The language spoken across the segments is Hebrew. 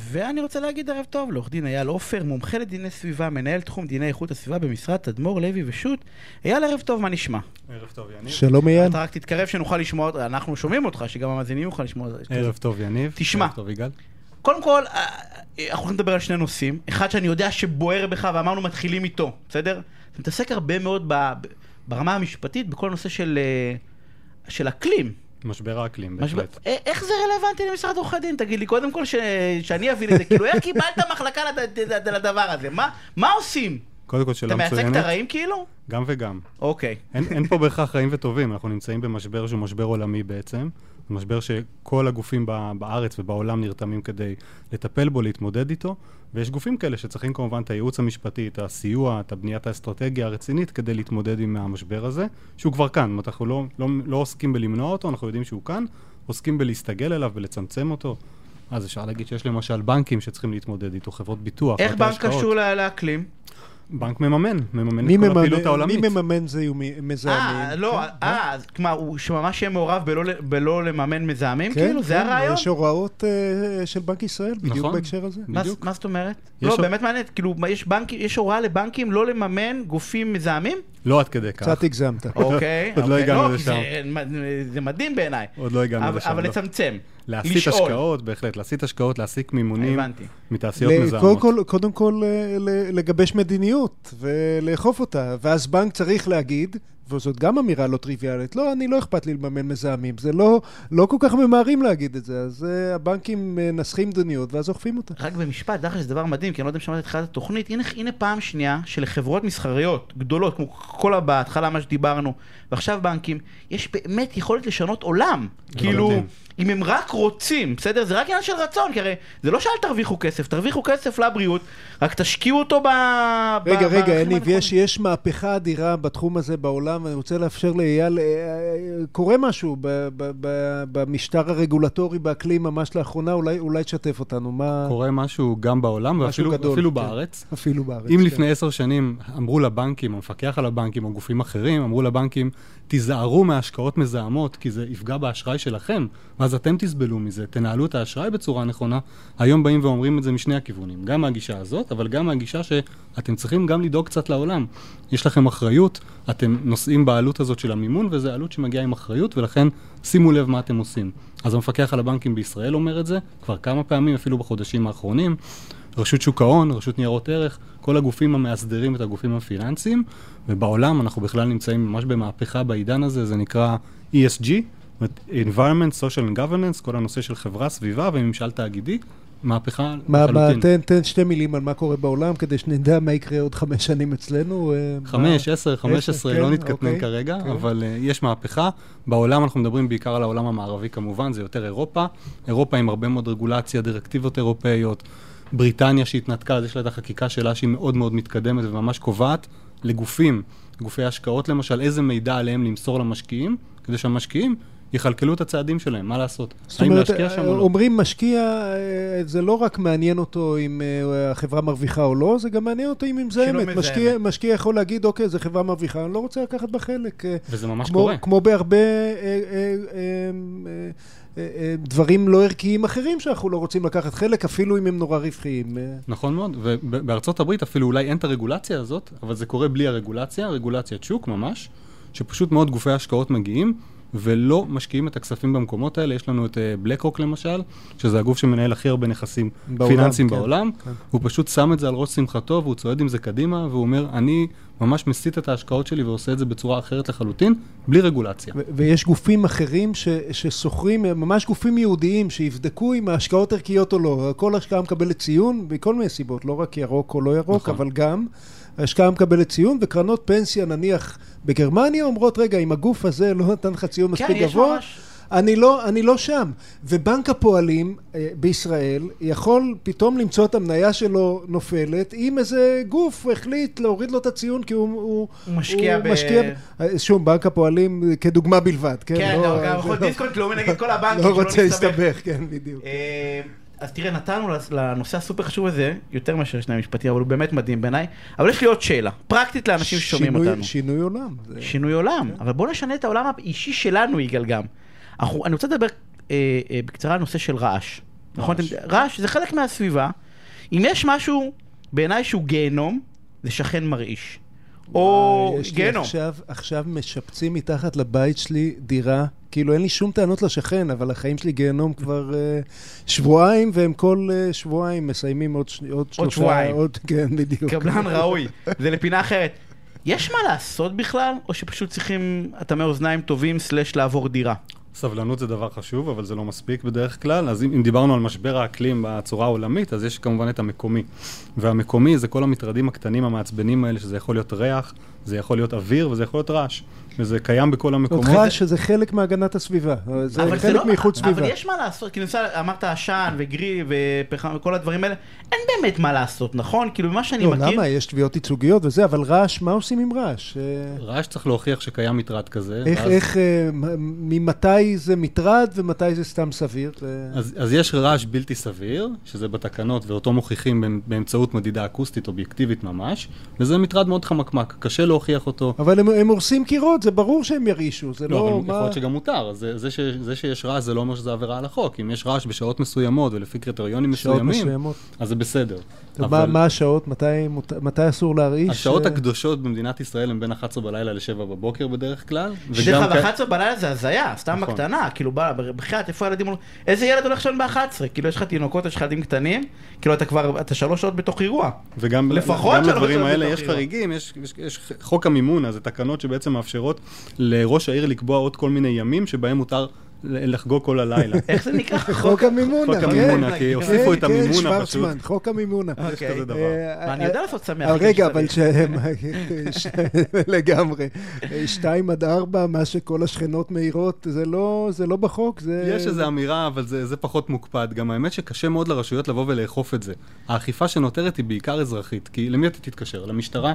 ואני רוצה להגיד ערב טוב לעורך דין אייל עופר, מומחה לדיני סביבה, מנהל תחום דיני איכות הסביבה במשרד תדמור, לוי ושות'. אייל, ערב טוב, מה נשמע? ערב טוב, יניב. שלום אייל. אתה רק תתקרב שנוכל לשמוע, אותך, אנחנו שומעים אותך, שגם המאזינים יוכל לשמוע. אותך. ערב טוב, יניב. תשמע. ערב טוב, יגאל. קודם כל, אה, אה, אנחנו הולכים לדבר על שני נושאים. אחד שאני יודע שבוער בך ואמרנו מתחילים איתו, בסדר? אתה מתעסק הרבה מאוד ב- ב- ברמה המשפטית בכל הנושא של, אה, של אקלים. משבר האקלים, משבר- בהחלט. אה, איך זה רלוונטי למשרד עורכי דין? תגיד לי, קודם כל ש... שאני אבין את זה. כאילו, איך קיבלת מחלקה לד- לד- לדבר הזה? מה, מה עושים? קודם כל שאלה אתה מייצג את לא מצוינת. הרעים כאילו? גם וגם. אוקיי. אין, אין פה בהכרח רעים וטובים, אנחנו נמצאים במשבר שהוא משבר עולמי בעצם. זה משבר שכל הגופים ב- בארץ ובעולם נרתמים כדי לטפל בו, להתמודד איתו, ויש גופים כאלה שצריכים כמובן את הייעוץ המשפטי, את הסיוע, את הבניית האסטרטגיה הרצינית כדי להתמודד עם המשבר הזה, שהוא כבר כאן, זאת אומרת, אנחנו לא, לא, לא עוסקים בלמנוע אותו, אנחנו יודעים שהוא כאן, עוסקים בלהסתגל אליו ולצמצם אותו. אז אפשר להגיד שיש למשל בנקים שצריכים להתמודד איתו, חברות ביטוח, איך בתי בנק השקעות. קשור ל- לאקלים? בנק מממן, מממן את מי כל מממן, הפעילות העולמית. מי מממן זיהומים- מזהמים? אה, לא, כן, אה, אז כלומר, הוא שממש יהיה מעורב בלא ל- בלא לממן מזהמים? כן, כאילו, זה כן, הרעיון? יש הוראות אה, של בנק ישראל בדיוק נכון. בהקשר הזה. מה- בדיוק. מה זאת אומרת? יש לא, עוד- באמת מעניין, כאילו, מה, יש בנק- יש הוראה לבנקים לא לממן גופים מזהמים? לא עד כדי כך. קצת הגזמת. אוקיי. עוד לא אוקיי. הגענו כי לשם. זה- מה- זה מדהים בעיניי. עוד לא הגענו אבל- לשם. אבל לא. לצמצם. להסיט לשאול. השקעות, בהחלט, להסיט השקעות, להסיק מימונים הבנתי. מתעשיות ל- קודם מזהמות. כל, קודם כל אה, ל- לגבש מדיניות ולאכוף אותה, ואז בנק צריך להגיד, וזאת גם אמירה לא טריוויאלית, לא, אני לא אכפת לי לממן מזהמים, זה לא, לא כל כך ממהרים להגיד את זה, אז אה, הבנקים אה, נסחים מדיניות ואז אוכפים אותה. רק במשפט, דרך אגב, זה דבר מדהים, כי אני לא יודע אם שמעת את תחילת התוכנית, הנה, הנה פעם שנייה שלחברות מסחריות גדולות, כמו כל בהתחלה מה שדיברנו, ועכשיו בנקים, יש באמת יכולת לשנות עולם. כאילו, מדהים. אם הם רק רוצים, בסדר? זה רק עניין של רצון, כי הרי זה לא שאל תרוויחו כסף, תרוויחו כסף לבריאות, רק תשקיעו אותו ב... ב- רגע, רגע, בערכים יניב, הנכונים. יש, יש מהפכה אדירה בתחום הזה בעולם, ואני רוצה לאפשר לאייל, אה, אה, קורה משהו ב, ב, ב, במשטר הרגולטורי באקלים ממש לאחרונה, אולי, אולי תשתף אותנו, מה קורה משהו גם בעולם, משהו ואפילו גדול, אפילו כן. בארץ. אפילו בארץ. אם כן. לפני עשר שנים אמרו לבנקים, המפקח על הבנקים או גופים אחרים, אמרו לבנקים, תיזהרו מהשקעות מזהמות, כי זה יפגע באשראי שלכם, ואז אתם תסבלו מזה, תנהלו את האשראי בצורה נכונה, היום באים ואומרים את זה משני הכיוונים, גם מהגישה הזאת, אבל גם מהגישה שאתם צריכים גם לדאוג קצת לעולם. יש לכם אחריות, אתם נושאים בעלות הזאת של המימון, וזו עלות שמגיעה עם אחריות, ולכן שימו לב מה אתם עושים. אז המפקח על הבנקים בישראל אומר את זה כבר כמה פעמים, אפילו בחודשים האחרונים. רשות שוק ההון, רשות ניירות ערך, כל הגופים המאסדרים את הגופים הפיננסיים, ובעולם אנחנו בכלל נמצאים ממש במהפכה בעידן הזה, זה נקרא ESG, זאת אומרת, environment, social and governance, כל הנושא של חברה, סביבה וממשל תאגידי, מהפכה מה, מה, לחלוטין. תן, תן שתי מילים על מה קורה בעולם, כדי שנדע מה יקרה עוד חמש שנים אצלנו. אה, חמש, מה- עשר, חמש עשרה, כן, לא נתקטנן אוקיי, כרגע, כן. אבל אה, יש מהפכה. בעולם אנחנו מדברים בעיקר על העולם המערבי כמובן, זה יותר אירופה. אירופה עם הרבה מאוד רגולציה, דירקטיבות אירופאיות. בריטניה שהתנתקה, אז יש לה את החקיקה שלה שהיא מאוד מאוד מתקדמת וממש קובעת לגופים, גופי השקעות למשל, איזה מידע עליהם למסור למשקיעים, כדי שהמשקיעים יכלכלו את הצעדים שלהם, מה לעשות? זאת האם אומרת, אה, להשקיע שם או לא? אומרים משקיע, אה, זה לא רק מעניין אותו אם אה, החברה מרוויחה או לא, זה גם מעניין אותו אם היא מזהמת. מזהמת. משקיע, משקיע יכול להגיד, אוקיי, זו חברה מרוויחה, אני לא רוצה לקחת בה חלק. אה, וזה ממש כמו, קורה. כמו בהרבה אה, אה, אה, אה, אה, אה, דברים לא ערכיים אחרים שאנחנו לא רוצים לקחת חלק, אפילו אם הם נורא רווחיים. אה, נכון מאוד, ובארצות הברית אפילו אולי אין את הרגולציה הזאת, אבל זה קורה בלי הרגולציה, רגולציית שוק ממש, שפשוט מאוד גופי השקעות מגיעים ולא משקיעים את הכספים במקומות האלה. יש לנו את בלקרוק למשל, שזה הגוף שמנהל הכי הרבה נכסים בעולם, פיננסיים כן, בעולם, כן. הוא פשוט שם את זה על ראש שמחתו והוא צועד עם זה קדימה, והוא אומר, אני ממש מסיט את ההשקעות שלי ועושה את זה בצורה אחרת לחלוטין, בלי רגולציה. ו- ויש גופים אחרים ש- ששוכרים, הם ממש גופים ייעודיים, שיבדקו אם ההשקעות ערכיות או לא. כל השקעה מקבלת ציון, מכל מיני סיבות, לא רק ירוק או לא ירוק, נכון. אבל גם ההשקעה מקבלת ציון, וקרנות פנסיה נניח בגרמניה אומרות, רגע, אם הגוף הזה לא נתן לך ציון כן, מספיק יש גבוה, ממש. אני לא, אני לא שם. ובנק הפועלים אה, בישראל יכול פתאום למצוא את המניה שלו נופלת, אם איזה גוף החליט להוריד לו את הציון כי הוא... הוא הוא משקיע הוא ב- משקיע... אה, שוב, בנק הפועלים אה, כדוגמה בלבד, כן? כן, לא, גם- אה, גם זה יכול לא- דיסקונט לאומי נגד כל הבנקים, לא שלא רוצה נסתבך. להסתבך, כן, בדיוק. אה, אז תראה, נתנו לס- לנושא הסופר חשוב הזה, יותר מאשר שני המשפטים, אבל הוא באמת מדהים בעיניי. אבל יש לי עוד שאלה, פרקטית לאנשים ששומעים שינוי- כן. אותנו. שינוי עולם. זה- שינוי עולם, אבל בואו נשנה את העולם האישי שלנו, יגאל, גם. אנחנו- אני רוצה לדבר אה, אה, בקצרה על נושא של רעש. נכון? רעש. אתם- רעש זה חלק מהסביבה. אם יש משהו, בעיניי שהוא גיהנום, זה שכן מרעיש. או וואי, אה, יש לי גיהנום. עכשיו, עכשיו משפצים מתחת לבית שלי דירה, כאילו אין לי שום טענות לשכן, אבל החיים שלי גיהנום כבר uh, שבועיים, והם כל uh, שבועיים מסיימים עוד, שני, עוד שלושה... שבועיים. עוד, כן, בדיוק. קבלן ראוי, זה לפינה אחרת. יש מה לעשות בכלל, או שפשוט צריכים אטמי אוזניים טובים סלש לעבור דירה? סבלנות זה דבר חשוב, אבל זה לא מספיק בדרך כלל. אז אם, אם דיברנו על משבר האקלים בצורה העולמית, אז יש כמובן את המקומי. והמקומי זה כל המטרדים הקטנים המעצבנים האלה, שזה יכול להיות ריח, זה יכול להיות אוויר וזה יכול להיות רעש. וזה קיים בכל המקומות. אותך שזה חלק מהגנת הסביבה, אה, זה אבל חלק לא- מאיכות סביבה. אבל יש מה לעשות, כאילו למשל, אמרת עשן וגרי ופחם וכל הדברים האלה, אין באמת מה לעשות, נכון? כאילו, ממה שאני לא, מכיר, למה? יש תביעות ייצוגיות וזה, אבל רעש, מה עושים עם רעש? אה, רעש צריך להוכיח שקיים מטרד כזה. איך, ואז- איך, אה, מ- ממתי זה מטרד ומתי זה סתם סביר? אה, אז, אז יש רעש בלתי סביר, שזה בתקנות, ואותו מוכיחים באמ- באמצעות מדידה אקוסטית אובייקטיבית ממש, וזה מטרד מאוד חמקמק, קשה להוכיח אותו. אבל הם, הם הורסים קירות, זה ברור שהם ירעישו, זה לא, לא... אבל יכול מה- להיות שגם מותר. זה, זה, ש, זה שיש רעש זה לא אומר שזה עבירה על החוק. אם יש רעש בשעות מסוימות ולפי קריטריונים שעות מסוימים, מסוימות. אז זה בסדר. אבל... מה, מה השעות? מתי, מות- מתי אסור להרעיש? השעות אה, הקדושות במדינת ישראל הן בין 11 בלילה ל-7 בבוקר בדרך כלל. שדרך וגם אגב, כ- 11 בלילה זה הזיה, סתם נכון. בקטנה, כאילו, בא, בחייאת, איפה הילדים, הולכים? איזה ילד הולך לישון ב-11? כאילו, יש לך תינוקות, יש לך ילדים קטנים, כאילו, אתה כבר, אתה שלוש שעות בתוך אירוע. וגם לפחות גם שלא לדברים מצלמים האלה את יש הבחירות. חריגים, יש, יש, יש חוק המימון, אז זה תקנות שבעצם מאפשרות לראש העיר לקבוע עוד כל מיני ימים שבהם מותר ל- לחגוג כל הלילה. איך זה נקרא? חוק המימונה, חוק כן. המימונה, כי כן, הוסיפו את כן, כן, המימונה פשוט. שוורצמן, חוק המימונה. אוקיי. יש כזה דבר. אה, אני יודע לעשות שמח. אבל כאילו רגע, שצריך. אבל ש... ש- לגמרי. אה, שתיים עד ארבע, מה שכל השכנות מעירות, זה לא, זה לא בחוק, זה... יש איזו אמירה, אבל זה, זה פחות מוקפד. גם האמת שקשה מאוד לרשויות לבוא ולאכוף את זה. האכיפה שנותרת היא בעיקר אזרחית, כי למי אתה תתקשר? למשטרה?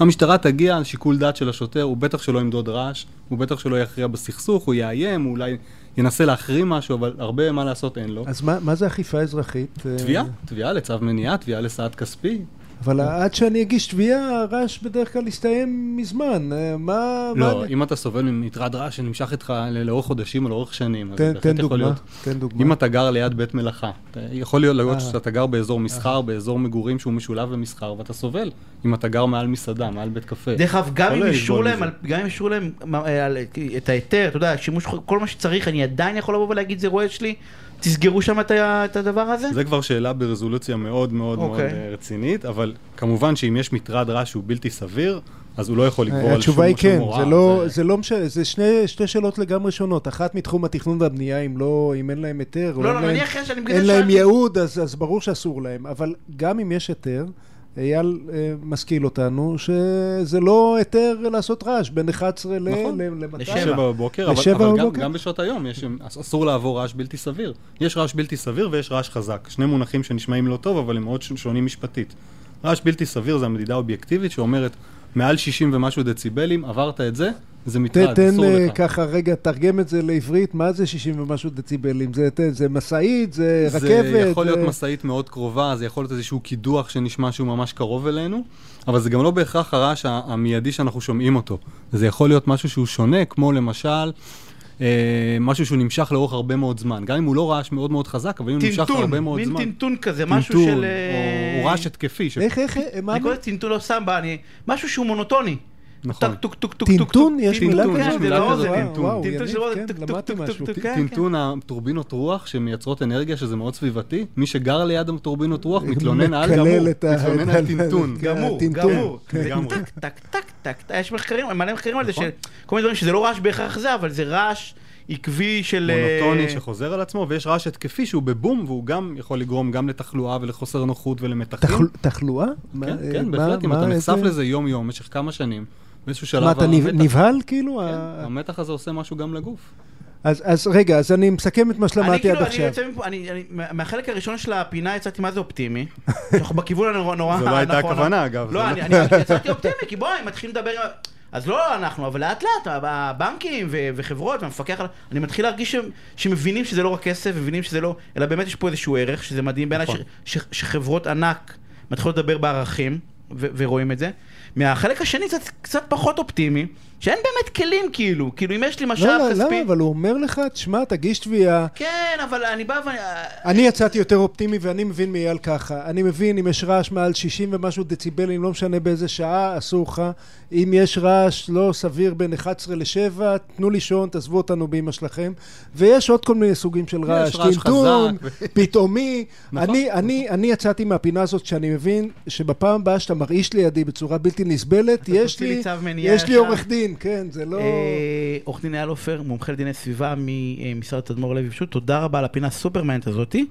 המשטרה תגיע על שיקול דעת של השוטר, הוא בטח שלא ימדוד רעש, הוא בטח שלא יכריע בסכסוך, הוא יאיים, הוא אולי ינסה להחרים משהו, אבל הרבה מה לעשות אין לו. אז מה, מה זה אכיפה אזרחית? אה, תביעה, תביעה לצו מניעה, תביעה לסעד כספי. אבל כן. עד שאני אגיש תביעה, הרעש בדרך כלל יסתיים מזמן. אה, מה... לא, מה... אם אתה סובל ממטרד רעש שנמשך איתך ל- לאורך חודשים או לאורך שנים, אז זה תן, בהחלט תן יכול דוגמה, להיות. תן דוגמה. אם אתה גר ליד בית מלאכה, אתה- יכול להיות אה. להיות שאתה גר באזור מסחר, באזור מגורים שהוא משולב במסחר, ואתה סובל. אם אתה גר מעל מסעדה, מעל בית קפה. דרך אגב, גם לא אם לסבול אישרו מזה. להם, על- גם אם אישרו להם מה, אה, על- את ההיתר, אתה יודע, שימוש, חורג, כל מה שצריך, אני עדיין יכול לבוא ולהגיד, זה רואה שלי, תסגרו שם את ה- את הדבר הזה? זה כבר שאלה ברזולוציה מאוד מאוד מאוד אוקיי. אה, רצינית, אבל כמובן שאם יש מטרד רעש שהוא בלתי סביר, אז הוא לא יכול לגבור על שום התשובה היא שום כן, הוראה. זה לא, זה לא משנה, זה שני, שתי שאלות לגמרי שונות, אחת מתחום התכנון והבנייה, אם לא, אם אין להם היתר, או לא, אין לא, להם, נניח שאני בגלל אין שאלתי- להם ייעוד, אז, אז ברור שאסור להם, אבל גם אם יש היתר, אייל אה, משכיל אותנו, שזה לא היתר לעשות רעש, בין 11 ל... נכון. ל- ל- לשבע. שבע בבוקר, אבל, לשבע אבל גם, בבוקר? גם בשעות היום יש, אס- אסור לעבור רעש בלתי סביר. יש רעש בלתי סביר ויש רעש חזק. שני מונחים שנשמעים לא טוב, אבל הם מאוד ש- שונים משפטית. רעש בלתי סביר זה המדידה האובייקטיבית שאומרת, מעל 60 ומשהו דציבלים, עברת את זה, זה ת- מטרד, תן אסור אה, לך. ככה רגע, תרגם את זה לעברית, מה זה 60 ומשהו דציבלים? זה, זה, זה משאית, זה רכבת? זה יכול להיות זה- משאית מאוד קרובה, זה יכול להיות איזשהו קידוח שנשמע שהוא ממש קרוב אלינו, אבל זה גם לא בהכרח הרעש ה- המיידי שאנחנו שומעים אותו. זה יכול להיות משהו שהוא שונה, כמו למשל... אה, משהו שהוא נמשך לאורך הרבה מאוד זמן. גם אם הוא לא רעש מאוד מאוד חזק, אבל אם הוא נמשך הרבה טינטון, מאוד מין זמן. טינטון כזה, משהו טינטון, של... אה, או- או רעש התקפי. ש- אה, איך, איך, מה? אני קורא לזה טינטון לא סמבה, אני... משהו שהוא מונוטוני. נכון. טק, טוק, טוק, טוק, טינטון? טוק, יש טינטון, מילה כן, כזאת? זה מילה לאוזן. כזאת, וואו, טינטון. וואו, יניב, טינטון של אוזן, כן, טוק, טוק, למדתי טוק, משהו. טוק, כן. טוק, ט- כן. טינטון הטורבינות רוח שמייצרות אנרגיה, שזה מאוד סביבתי. מי שגר ליד הטורבינות רוח מתלונן על גמור, אה, מקלל את ה- מתלונן את ה- על טינטון. כן. גמור, הטינטון. גמור. כן. זה לגמרי. טק, טק, טק, טק, טק. יש מחקרים, מלא מחקרים על זה, נכון. שכל מיני דברים שזה לא רעש בהכרח זה, אבל זה רעש עקבי של... אה, מונוטוני שחוזר על עצמו, ויש רעש התקפי שהוא בבום, והוא גם יכול לגרום גם לתחלואה ולחוסר נוחות ולמתחים. תחל- תחלואה? מה- כן, אה, כן, מה- בהחלט, אם מה- אתה נחשף איזה- לזה יום-יום, במשך כמה שנים, באיזשהו שלב... מה, אתה נב- המתח- נבהל כאילו? כן, ה- המתח הזה עושה משהו גם לגוף. אז אז רגע, אז אני מסכם את לא, מה אני שלמדתי כאילו, עד אני עכשיו. יוצא מפה, אני, אני, מה- מהחלק הראשון של הפינה יצאתי מה זה אופטימי. אנחנו בכיוון הנורא נורא זו לא הייתה הנכון. הכוונה, אגב, זה אה, לא, לא- אני אני יצאתי אופטימי, כי בואי, מתחילים לדבר... עם ה- אז לא אנחנו, אבל לאט לאט, הבנקים ו- וחברות והמפקח, על- אני מתחיל להרגיש שהם- שמבינים שזה לא רק כסף, מבינים שזה לא, אלא באמת יש פה איזשהו ערך, שזה מדהים בעיניי, ש- נכון. ש- שחברות ענק מתחילות לדבר בערכים, ו- ורואים את זה. מהחלק השני קצת, קצת פחות אופטימי, שאין באמת כלים כאילו, כאילו אם יש לי משאב לא, לא, כספי... למה? אבל הוא אומר לך, תשמע, תגיש תביעה. כן, אבל אני בא ואני... אני יצאתי יותר אופטימי ואני מבין מאייל ככה. אני מבין אם יש רעש מעל 60 ומשהו דציבלים, לא משנה באיזה שעה, אסור לך. אם יש רעש לא סביר בין 11 ל-7, תנו לישון, תעזבו אותנו באמא שלכם. ויש עוד כל מיני סוגים של רעש. רעש טינטון, חזק. פתאומי. נכון, אני, אני, אני יצאתי מהפינה הזאת שאני מבין שבפעם הבאה שאתה מרעיש לידי בצורה בלתי נסבלת, אתה יש תוציא לי לי, צו מניעה יש לי ישר. עורך דין, כן, זה לא... אה, עורך דין אייל עופר, מומחה לדיני סביבה ממשרד תדמור לוי פשוט, תודה רבה על הפינה הסופרמנט הזאתי.